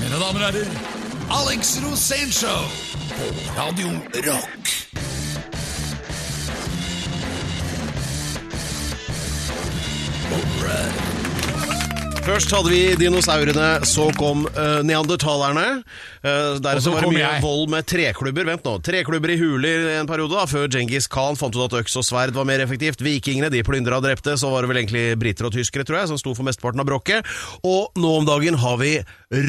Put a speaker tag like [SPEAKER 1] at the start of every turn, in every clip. [SPEAKER 1] Mine damer og herrer, Alex Rosénshow på Radio Rock.
[SPEAKER 2] Først hadde vi dinosaurene, så kom eh, neandertalerne. Eh, der
[SPEAKER 3] Og så
[SPEAKER 2] så var det
[SPEAKER 3] kom
[SPEAKER 2] mye
[SPEAKER 3] jeg.
[SPEAKER 2] vold med treklubber. Vent nå, treklubber i huler en periode, da, før Djengis Khan fant ut at øks og sverd var mer effektivt. Vikingene de plyndra og drepte, så var det vel egentlig briter og tyskere, tror jeg, som sto for mesteparten av bråket. Og nå om dagen har vi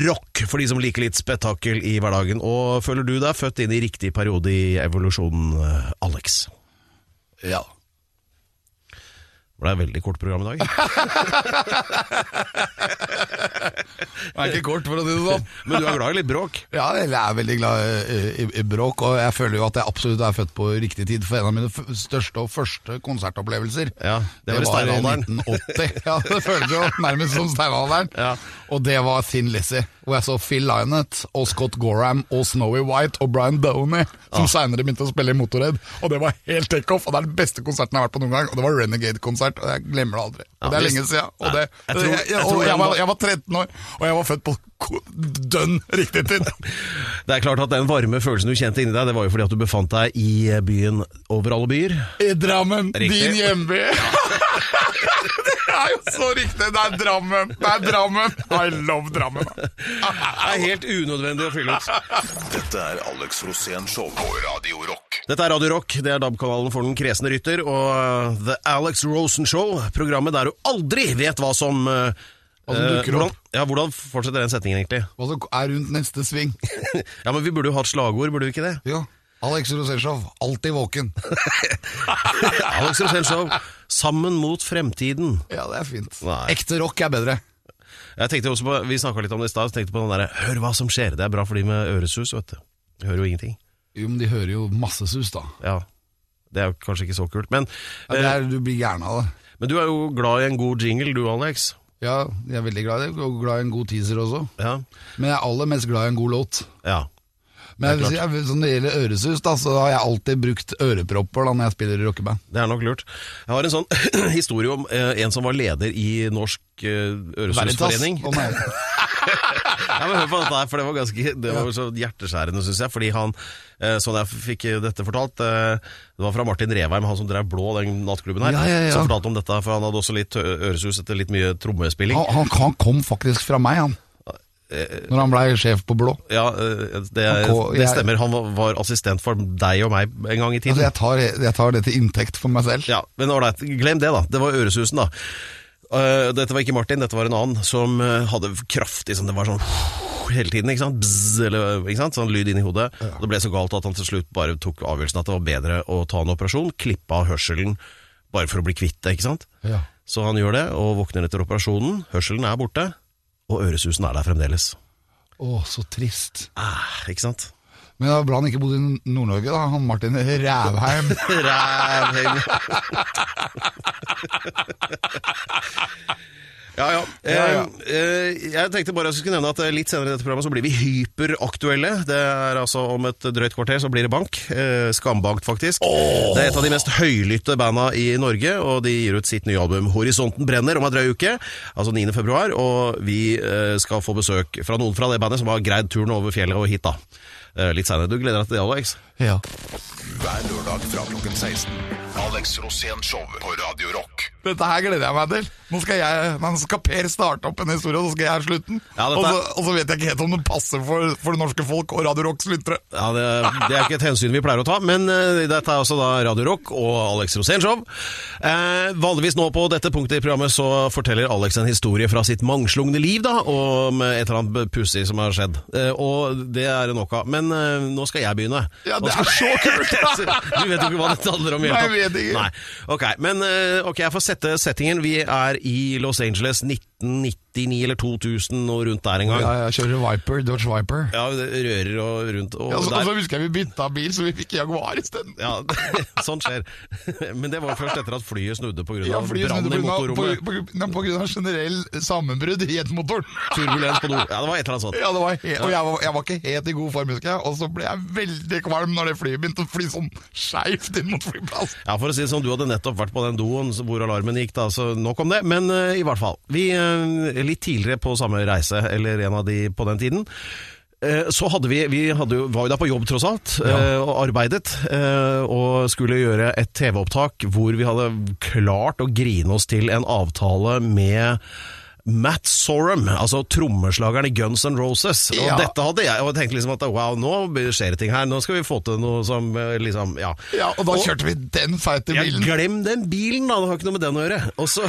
[SPEAKER 2] rock, for de som liker litt spetakkel i hverdagen. Og føler du deg født inn i riktig periode i evolusjonen, eh, Alex?
[SPEAKER 1] Ja.
[SPEAKER 2] Det ble et veldig kort program i dag.
[SPEAKER 1] Det er ikke kort, for å si det sånn.
[SPEAKER 2] Men du er glad i litt bråk?
[SPEAKER 1] Ja, jeg er veldig glad eh, i, i bråk, og jeg føler jo at jeg absolutt er født på riktig tid for en av mine f største og første konsertopplevelser.
[SPEAKER 2] Ja, det var i
[SPEAKER 1] i
[SPEAKER 2] steinalderen.
[SPEAKER 1] 1980. Ja, det føles jo nærmest som steinalderen.
[SPEAKER 2] Ja.
[SPEAKER 1] Og det var Thin Lizzie, hvor jeg så Phil Lynott og Scott Gorham og Snowy White og Brian Downey,
[SPEAKER 2] Ah.
[SPEAKER 1] som senere begynte å spille i Motorhead. Og det var helt takeoff, og det er den beste konserten jeg har vært på noen gang. Og det var Renegade-konsert, og jeg glemmer det aldri. Og
[SPEAKER 2] Ja,
[SPEAKER 1] det er
[SPEAKER 2] hvis-
[SPEAKER 1] lenge siden.
[SPEAKER 2] Nei,
[SPEAKER 1] Og, det,
[SPEAKER 2] jeg
[SPEAKER 1] jeg,
[SPEAKER 2] tror-
[SPEAKER 1] jeg,
[SPEAKER 2] jeg tror
[SPEAKER 1] og
[SPEAKER 2] den
[SPEAKER 1] jeg, var,
[SPEAKER 2] var-
[SPEAKER 1] jeg var 13 år, og jeg var født på ko- dønn riktig tid.
[SPEAKER 2] Det er klart at den varme følelsen du kjente inni deg, det var jo fordi at du befant deg i eh, byen over alle byer.
[SPEAKER 1] I Drammen,
[SPEAKER 2] Riktig.
[SPEAKER 1] din hjemby. det er jo så riktig. Det er Drammen. Det er Drammen. I love Drammen.
[SPEAKER 2] Det er helt unødvendig å fylle ut.
[SPEAKER 4] Dette er Alex Rosén Show på Radio Rock.
[SPEAKER 2] Dette er Radio Rock, det er DAB-kanalen for den kresne rytter, og eh, The Alex Rosen Show, programmet der du aldri vet hva som eh,
[SPEAKER 1] Hva som
[SPEAKER 2] eh,
[SPEAKER 1] dukker
[SPEAKER 2] hvordan,
[SPEAKER 1] opp.
[SPEAKER 2] ja, hvordan fortsetter den setningen egentlig?
[SPEAKER 1] Hva som er rundt neste sving?
[SPEAKER 2] Ja, men vi burde jo hatt slagord, burde vi ikke det?
[SPEAKER 1] Jo, Alex Rosenshow, alltid våken.
[SPEAKER 2] Alex Rosen Show, sammen mot fremtiden.
[SPEAKER 1] Ja, det er fint.
[SPEAKER 2] Nei.
[SPEAKER 1] Ekte rock er bedre.
[SPEAKER 2] Jeg tenkte også på, Vi snakka litt om det i stad, så tenkte jeg på den derre 'hør hva som skjer'. Det er bra for de med øresus, vet du. De hører jo ingenting.
[SPEAKER 1] Jo, men de hører jo masse sus, da.
[SPEAKER 2] Ja, Det er jo kanskje ikke så kult, men eh,
[SPEAKER 1] Ja, det er, du blir gæren av det.
[SPEAKER 2] Men du er jo glad i en god jingle, du Alex.
[SPEAKER 1] Ja, jeg er veldig glad i det. Og glad i en god teaser også.
[SPEAKER 2] Ja.
[SPEAKER 1] Men jeg er aller mest glad i en god låt.
[SPEAKER 2] ja.
[SPEAKER 1] Men
[SPEAKER 2] Det er
[SPEAKER 1] jeg, vil si- jeg, vil- sånn når det gjelder øresus, da, så har jeg alltid brukt ørepropper da når jeg spiller i rockeband.
[SPEAKER 2] Det er nok lurt. Jeg har en sånn historie om eh, en som var leder i Norsk eh, Øresundsforening.
[SPEAKER 1] Veritas, å nei.
[SPEAKER 2] Ja, men hør på dette her, for det var ganske Det var så hjerteskjærende, syns jeg. Fordi han, eh, sånn jeg fikk dette fortalt eh, Det var fra Martin Revheim, han som drev Blå, den nattklubben her.
[SPEAKER 1] Ja, ja, ja.
[SPEAKER 2] Som fortalte om dette, for han hadde også litt ø- øresus etter litt mye trommespilling.
[SPEAKER 1] Han, han, han kom faktisk fra meg, han.
[SPEAKER 2] Eh,
[SPEAKER 1] Når han blei sjef på Blå.
[SPEAKER 2] Ja, eh, det,
[SPEAKER 1] Han ko-
[SPEAKER 2] det
[SPEAKER 1] jeg-
[SPEAKER 2] stemmer. Han var, var assistent for deg og meg en gang i tiden.
[SPEAKER 1] Altså, jeg, tar, jeg tar det til inntekt for meg selv.
[SPEAKER 2] Ja, men ålreit. Glem det, da. Det var øresusen, da. Eh, dette var ikke Martin, dette var en annen som eh, hadde kraftig sånn Det var sånn hele tiden, ikke sant? Bzz, eller, ikke sant? Sånn lyd inni hodet. Og det ble så galt at han til slutt bare tok avgjørelsen at det var bedre å ta en operasjon, klippe av hørselen bare for å bli kvitt det, ikke sant?
[SPEAKER 1] Ja.
[SPEAKER 2] Så han gjør det, og våkner etter operasjonen. Hørselen er borte, og øresusen er der fremdeles.
[SPEAKER 1] Å, så trist.
[SPEAKER 2] Ah, ikke sant?
[SPEAKER 1] Men det var bra han ikke bodde i Nord-Norge, da. Han Martin Rævheim.
[SPEAKER 2] Rævheng. Ja, ja. Eh,
[SPEAKER 1] Ja,
[SPEAKER 2] eh, jeg tenkte bare jeg skulle nevne at eh, litt senere i dette programmet så blir vi hyperaktuelle. Det er altså om et drøyt kvarter så blir det bank. Eh, Skambankt, faktisk. Det er et av de mest høylytte banda i Norge, og de gir ut sitt nye album 'Horisonten brenner' om en drøy uke, altså 9. februar. Og vi eh, skal få besøk fra noen fra det bandet som har greid turen over fjellet og hit, da. Eh, Litt seinere. Du gleder deg til det, Alex?
[SPEAKER 1] Ja.
[SPEAKER 4] Hver lørdag fra klokken 16. Alex Rosén Show på Radio Rock.
[SPEAKER 1] Dette her gleder jeg meg til. Nå skal, jeg, nå skal Per starte opp en historie, og så skal jeg slutten.
[SPEAKER 2] Ja, dette-
[SPEAKER 1] og, så, og så vet jeg ikke helt om det passer for, for det norske folk og Radio Rocks lyttere.
[SPEAKER 2] Ja, det, det er ikke et hensyn vi pleier å ta, men eh, dette er altså da Radio Rock og Alex Rosénshow. Eh, vanligvis nå på dette punktet i programmet så forteller Alex en historie fra sitt mangslungne liv, da, om eh, et eller annet pussig som har skjedd. Eh, og det er det nok av. Men eh, nå skal jeg begynne.
[SPEAKER 1] Ja,
[SPEAKER 2] Nå
[SPEAKER 1] det
[SPEAKER 2] skal-
[SPEAKER 1] er så kult!
[SPEAKER 2] du vet jo ikke hva dette handler om. i hele
[SPEAKER 1] Nei, jeg
[SPEAKER 2] tatt.
[SPEAKER 1] vet ikke.
[SPEAKER 2] Nei. Ok, men eh, ok, jeg får sette settingen. Vi er i Los Angeles 1999 eller 2000 og rundt der en gang.
[SPEAKER 1] Ja, jeg kjører Viper, Dodge Viper.
[SPEAKER 2] Ja, det rører og rundt. Og
[SPEAKER 1] Ja, så,
[SPEAKER 2] der-
[SPEAKER 1] og så husker jeg vi bytta bil, så vi fikk Jaguar isteden.
[SPEAKER 2] Ja, sånt skjer. Men det var først etter at flyet snudde pga.
[SPEAKER 1] Ja,
[SPEAKER 2] av
[SPEAKER 1] fordi
[SPEAKER 2] brann i
[SPEAKER 1] på grunn av-
[SPEAKER 2] motorrommet.
[SPEAKER 1] På, på, nei, på grunn av generell sammenbrudd i jetmotoren.
[SPEAKER 2] Turbulens på do. Ja, det var et eller annet sånt.
[SPEAKER 1] Ja, det var helt, og jeg var, jeg var ikke helt i god form, husker jeg. Og så ble jeg veldig kvalm når det flyet begynte å fly sånn skeivt inn mot flyplassen.
[SPEAKER 2] Ja, for å si det sånn, Du hadde nettopp vært på den doen hvor alarmen gikk, da, så nok om det. Men eh, i hvert fall. Vi eh, eh, litt tidligere på samme reise, eller en av de på den tiden. eh, Så hadde vi, vi hadde, jo- var jo da på jobb tross alt, eh, og arbeidet, eh, og skulle gjøre et TV-opptak hvor vi hadde klart å grine oss til en avtale med Matt Sorum, altså trommeslageren i Guns N' Roses. Og
[SPEAKER 1] Ja.
[SPEAKER 2] dette hadde jeg, og jeg tenkte liksom at wow, nå skjer det ting her, nå skal vi få til noe som eh, liksom, ja.
[SPEAKER 1] Ja, og da kjørte vi den feite
[SPEAKER 2] Ja,
[SPEAKER 1] bilen.
[SPEAKER 2] glem den bilen, da! Det har ikke noe med den å gjøre. Og så,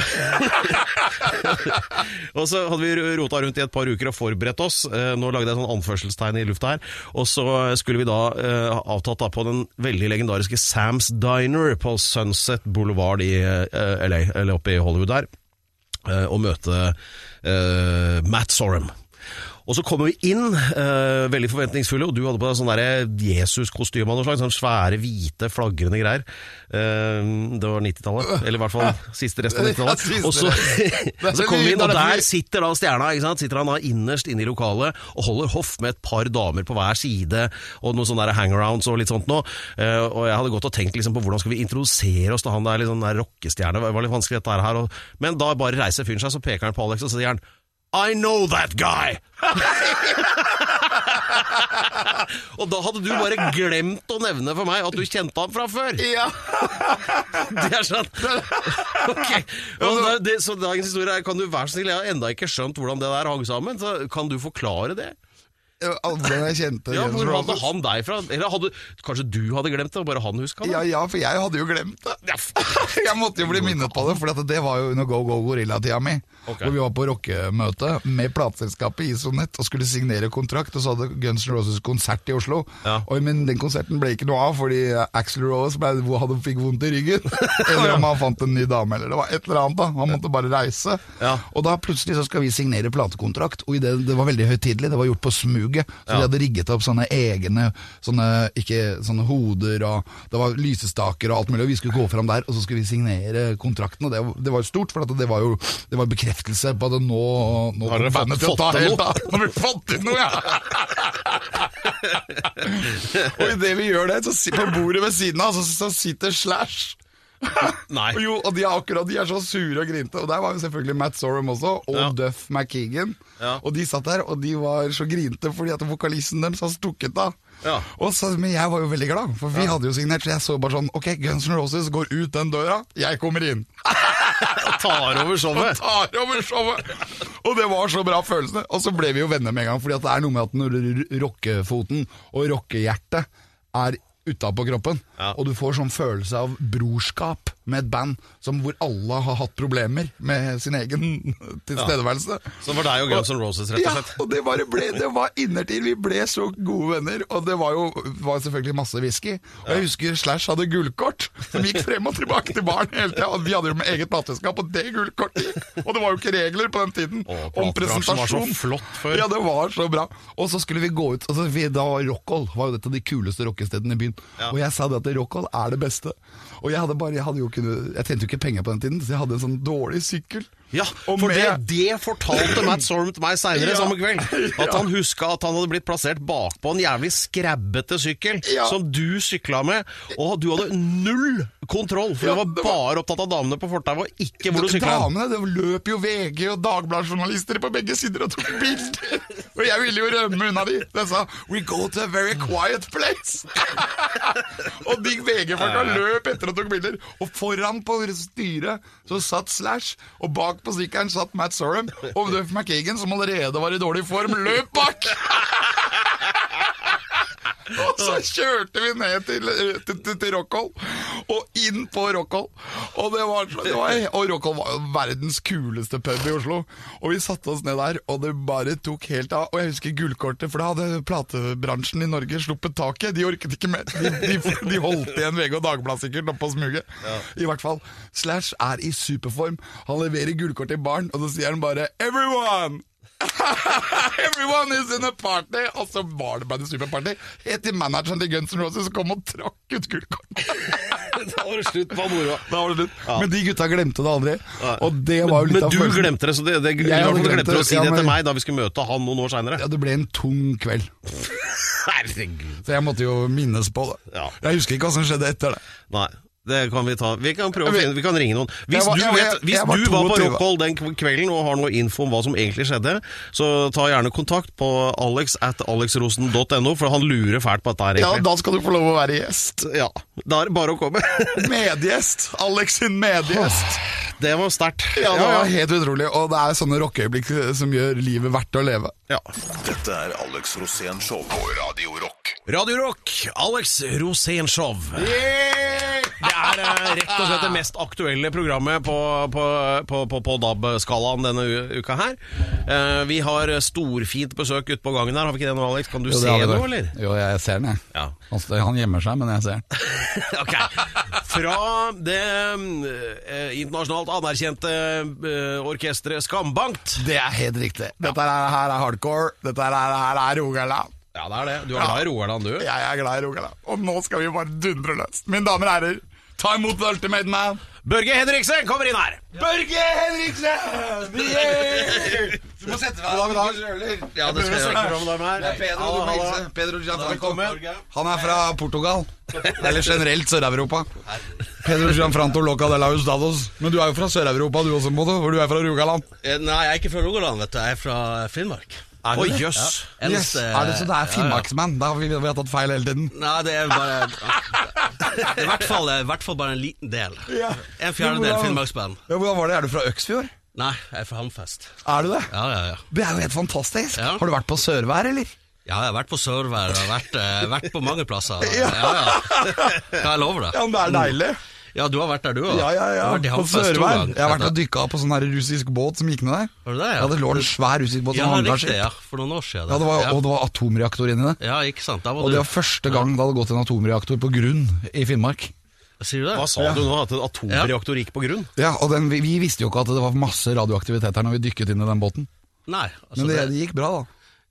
[SPEAKER 2] og så hadde vi rota rundt i et par uker og forberedt oss. Eh, Nå lagde jeg sånn anførselstegn i lufta her. Og så skulle vi da eh, ha avtalt da på den veldig legendariske Sam's Diner på Sunset Boulevard i eh, LA, eller oppe i Hollywood der, eh, og møte eh, Matt Sorum. Og så kommer vi inn, eh, veldig forventningsfulle, og du hadde på deg sånn der Jesus-kostyme av noe slag. Sånne svære, hvite, flagrende greier. Eh, det var 90-tallet. Eller i hvert fall siste rest av
[SPEAKER 1] Ja,
[SPEAKER 2] 90-tallet.
[SPEAKER 1] siste
[SPEAKER 2] Og så,
[SPEAKER 1] rest.
[SPEAKER 2] så kommer vi inn, og
[SPEAKER 1] Det er derfor vi-
[SPEAKER 2] der sitter da stjerna. ikke sant? Sitter han da innerst inne i lokalet og holder hoff med et par damer på hver side, og noen sånne der hangarounds og litt sånt noe. Eh, og jeg hadde gått og tenkt liksom på hvordan skal vi introdusere oss til han der, liksom, den der rockestjerne. Det var litt vanskelig dette her. Og, men da bare reiser fyren seg, så peker han på Alex, og så sier han I know that guy! og da hadde du bare glemt å nevne for meg at du kjente ham fra før.
[SPEAKER 1] Ja.
[SPEAKER 2] Det er sånn Ok Og da, det, Så dagens historie er Kan du være så snill Jeg har enda ikke skjønt hvordan det der hang sammen Så kan du forklare det?
[SPEAKER 1] Ja, Hvordan jeg kjente
[SPEAKER 2] Ja,
[SPEAKER 1] Jesus
[SPEAKER 2] hvor hadde
[SPEAKER 1] Roses.
[SPEAKER 2] han deg fra? Eller hadde, kanskje du hadde glemt det Og bare han husker det?
[SPEAKER 1] Ja, ja, for jeg hadde jo glemt det.
[SPEAKER 2] Ja, f-
[SPEAKER 1] Jeg måtte jo bli minnet på det, for at det var jo under Go Go Gorilla-tida mi.
[SPEAKER 2] Ok.
[SPEAKER 1] Hvor vi var på rockemøte med plateselskapet Isonett og skulle signere kontrakt. Og så hadde Guns N' Roses konsert i Oslo.
[SPEAKER 2] Ja.
[SPEAKER 1] Oi, men den konserten ble ikke noe av fordi Axel Rose ble, hadde, fikk vondt i ryggen. Eller om han fant en ny dame, eller det var et eller annet. da Han måtte bare reise.
[SPEAKER 2] Ja.
[SPEAKER 1] Og da plutselig så skal vi signere platekontrakt, og i det, det var veldig høytidelig. Det var gjort på smuget. Så de hadde rigget opp sånne egne sånne, ikke, sånne hoder, og det var lysestaker og alt mulig. Og vi skulle gå fram der, og så skulle vi signere kontrakten. Og det, det var jo stort, for at det var jo det var bekreftelse på at nå, nå
[SPEAKER 2] Har dere
[SPEAKER 1] kom bandet
[SPEAKER 2] fått-
[SPEAKER 1] til å ta
[SPEAKER 2] fått til
[SPEAKER 1] helt
[SPEAKER 2] noe?
[SPEAKER 1] av. Nå har vi fått til noe, ja! og idet vi gjør det, så si- på bordet ved siden av, så, så sitter Slash.
[SPEAKER 2] Nei
[SPEAKER 1] Og Jo, og de er akkurat, de er så sure og grinte. Og der var jo selvfølgelig Matt Sorum også, og
[SPEAKER 2] Ja.
[SPEAKER 1] Duff McKeegan.
[SPEAKER 2] Ja.
[SPEAKER 1] Og de satt der, og de var så grinte fordi at vokalisten deres har stukket av.
[SPEAKER 2] Ja.
[SPEAKER 1] Og så, men jeg var jo veldig glad, for vi hadde jo signert, så jeg så bare sånn Ok, Guns N' Roses går ut den døra, jeg kommer inn.
[SPEAKER 2] Jeg tar over showet
[SPEAKER 1] Tar over showet! Og det var så bra følelse. Og så ble vi jo venner med en gang, fordi at det er noe med at når r- rockefoten og rockehjertet er utapå kroppen,
[SPEAKER 2] Ja.
[SPEAKER 1] og du får sånn følelse av brorskap med et band som hvor alle har hatt problemer med sin egen tilstedeværelse.
[SPEAKER 2] Så det var deg og Guns N' Roses rett og
[SPEAKER 1] Ja,
[SPEAKER 2] slett
[SPEAKER 1] og det, bare ble, det var innertid. Vi ble så gode venner. Og det var jo var selvfølgelig masse whisky. Og jeg husker Slash hadde gullkort som gikk frem og tilbake til baren hele tida. Og vi hadde jo med eget plateselskap, og det gullkortet gikk. Og det var jo ikke regler på den tiden
[SPEAKER 2] Å,
[SPEAKER 1] om
[SPEAKER 2] platebransjen var så
[SPEAKER 1] presentasjon.
[SPEAKER 2] flott før.
[SPEAKER 1] Ja, det var så bra. Og så skulle vi gå ut altså, vi, Da var Rockhold var jo et av de kuleste rockestedene i byen. Og jeg sa det at Rockhold er det beste. Og jeg hadde bare Jeg, hadde jo kunnet, jeg tjente jo ikke penger på den tiden, så jeg hadde en sånn dårlig sykkel.
[SPEAKER 2] Ja,
[SPEAKER 1] Og
[SPEAKER 2] for det, det fortalte Matt Sorum til meg seinere
[SPEAKER 1] Ja.
[SPEAKER 2] samme kveld. At han huska at han hadde blitt plassert bakpå en jævlig skræbbete sykkel
[SPEAKER 1] Ja.
[SPEAKER 2] som du sykla med, og du hadde null kontroll, for
[SPEAKER 1] Ja,
[SPEAKER 2] du var
[SPEAKER 1] det
[SPEAKER 2] bare opptatt av damene på fortauet, og ikke hvor du sykla.
[SPEAKER 1] Damene, det løp jo VG og Dagbladet-journalister på begge sider og tok bilder. Og jeg ville jo rømme unna de. Jeg sa 'We go to a very quiet place'. og de VG-folka løp etter og tok bilder. Og foran på styret så satt Slash, og bak på sykkelen satt Matt Sorum. Og Duff McKagan, som allerede var i dårlig form, løp bak! Og så kjørte vi ned til, til, til, til Rockhold, og inn på Rockhold. Og, det var, så- det var, og Rockhold var jo verdens kuleste pub i Oslo. Og vi satte oss ned der, og det bare tok helt av. Og jeg husker gullkortet, for da hadde platebransjen i Norge sluppet taket. De orket ikke mer. De, de, de holdt igjen VG og Dagbladet sikkert oppe på smuget. I hvert fall. Slash er i superform. Han leverer gullkort til barn, og så sier han bare 'Everyone'! Everyone is in a party! Og så var det bare en superparty. Helt til manageren til Guns N' Roses kom og trakk ut gullkortet.
[SPEAKER 2] Da var det slutt på moroa.
[SPEAKER 1] Da var det slutt. Men de gutta glemte det aldri. Og det var jo litt
[SPEAKER 2] Men
[SPEAKER 1] av
[SPEAKER 2] du
[SPEAKER 1] følelsen.
[SPEAKER 2] glemte det, så det, det,
[SPEAKER 1] Jeg
[SPEAKER 2] i hvert fall
[SPEAKER 1] hadde glemt
[SPEAKER 2] glemte du
[SPEAKER 1] det,
[SPEAKER 2] å si
[SPEAKER 1] ja,
[SPEAKER 2] det
[SPEAKER 1] men-
[SPEAKER 2] til meg da vi skulle møte han noen år seinere.
[SPEAKER 1] Ja, det ble en tung kveld,
[SPEAKER 2] Herregud.
[SPEAKER 1] så jeg måtte jo minnes på det.
[SPEAKER 2] Ja.
[SPEAKER 1] Jeg husker ikke hva som skjedde etter det.
[SPEAKER 2] Nei. Det kan vi ta. Vi kan prøve å finne Vi kan ringe noen. Hvis
[SPEAKER 3] Jeg var-
[SPEAKER 2] du,
[SPEAKER 3] jeg var-
[SPEAKER 2] vet,
[SPEAKER 3] jeg-
[SPEAKER 2] hvis
[SPEAKER 3] jeg var
[SPEAKER 2] du var på
[SPEAKER 3] 22.
[SPEAKER 2] Rockhold den k- kvelden og har noe info om hva som egentlig skjedde, så ta gjerne kontakt på alex at alexrosen.no, for han lurer fælt på dette her,
[SPEAKER 3] Ja,
[SPEAKER 2] egentlig.
[SPEAKER 3] da skal du få lov å være gjest.
[SPEAKER 2] Ja, da er det bare å komme.
[SPEAKER 3] Medgjest! Alex sin medgjest.
[SPEAKER 2] Det var sterkt.
[SPEAKER 3] Ja, det
[SPEAKER 2] ja,
[SPEAKER 3] var helt utrolig. Og det er sånne rockeøyeblikk som gjør livet verdt å leve.
[SPEAKER 2] ja.
[SPEAKER 4] Dette er Alex Rosén Show på Radio Rock.
[SPEAKER 2] Radio Rock, Alex Rosénshow. Det er eh, rett og slett det mest aktuelle programmet på, på, på, på, på DAB-skalaen denne u- uka her. Eh, vi har storfint besøk ute på gangen her, har vi ikke det nå, Alex? Kan du se noe, eller?
[SPEAKER 3] Jo, jeg ser den, jeg.
[SPEAKER 2] Ja.
[SPEAKER 3] Altså, han gjemmer seg, men jeg ser den.
[SPEAKER 2] Ok. Fra det eh, internasjonalt anerkjente eh, orkesteret Skambankt.
[SPEAKER 3] Det er helt riktig. Dette her, her er hardcore. Dette her, her er Rogaland.
[SPEAKER 2] Ja, det er det. Du er glad i Rogaland, du?
[SPEAKER 3] Jeg er glad i Rogaland. Og nå skal vi bare dundre løs. Mine damer og herrer, ta imot The Ultimate Man.
[SPEAKER 2] Børge Henriksen kommer inn her!
[SPEAKER 3] Børge Henriksen! Yeah!
[SPEAKER 1] Du må sette deg ned og kjøler.
[SPEAKER 2] Ja, det skal jeg gjøre. Ikke noe med
[SPEAKER 1] Det er
[SPEAKER 2] det her.
[SPEAKER 1] Pedro,
[SPEAKER 2] Hallo,
[SPEAKER 1] du må
[SPEAKER 2] hallo.
[SPEAKER 1] hilse. Pedro Gianfranco.
[SPEAKER 2] Velkommen.
[SPEAKER 1] Han er fra Portugal. Eller generelt Sør-Europa. Pedro Gianfranco Loca de la Ustados. Men du er jo fra Sør-Europa du også, Modo, for du er fra Rogaland.
[SPEAKER 5] Eh, Nei, jeg er ikke fra Rogaland, vet du. Jeg er fra eh, Finnmark.
[SPEAKER 2] Å, jøss.
[SPEAKER 1] Yes. Er det så det er Finnmarksman? Da har vi, vi har tatt feil hele tiden.
[SPEAKER 5] Nei, det er bare Det er i hvert fall, i hvert fall bare en liten del. En fjerdedel
[SPEAKER 1] Hvordan-
[SPEAKER 5] Finnmarksband.
[SPEAKER 1] Ja, hvordan var det? Er du fra Øksfjord?
[SPEAKER 5] Nei, jeg er fra Hamfest.
[SPEAKER 1] Er du det?
[SPEAKER 5] Ja, ja, ja.
[SPEAKER 1] Det er jo helt fantastisk.
[SPEAKER 5] Ja.
[SPEAKER 1] Har du vært på Sørvær, eller?
[SPEAKER 5] Ja, jeg har vært på Sørvær, og jeg har vært, eh, vært på mange plasser. Ja, ja. Kan jeg love deg?
[SPEAKER 3] det er deilig.
[SPEAKER 5] Ja, du har vært der, du òg.
[SPEAKER 3] Ja, ja, ja.
[SPEAKER 5] Vært i
[SPEAKER 3] På
[SPEAKER 5] Hamfest to
[SPEAKER 3] Sørvær.
[SPEAKER 5] ganger.
[SPEAKER 1] Jeg har vært og dykka på sånn her russisk båt som gikk ned der.
[SPEAKER 5] Var det det, ja?
[SPEAKER 1] Ja, det lå en svær russisk båt
[SPEAKER 5] Ja,
[SPEAKER 1] som hangla
[SPEAKER 5] riktig.
[SPEAKER 1] seg.
[SPEAKER 5] Ja, for noen år siden.
[SPEAKER 1] Ja, det var,
[SPEAKER 5] ja.
[SPEAKER 1] og det var atomreaktor inni det.
[SPEAKER 5] ja, ikke sant. Da var
[SPEAKER 1] Og
[SPEAKER 5] du
[SPEAKER 1] det var første gang det hadde gått en atomreaktor på grunn i Finnmark.
[SPEAKER 5] Sier du det?
[SPEAKER 2] Hva sa du nå? At en atomreaktor gikk på grunn?
[SPEAKER 1] Ja, og den, vi, vi visste jo ikke at det var masse radioaktivitet her når vi dykket inn i den båten.
[SPEAKER 5] Nei. Altså,
[SPEAKER 1] Men det, det gikk bra, da.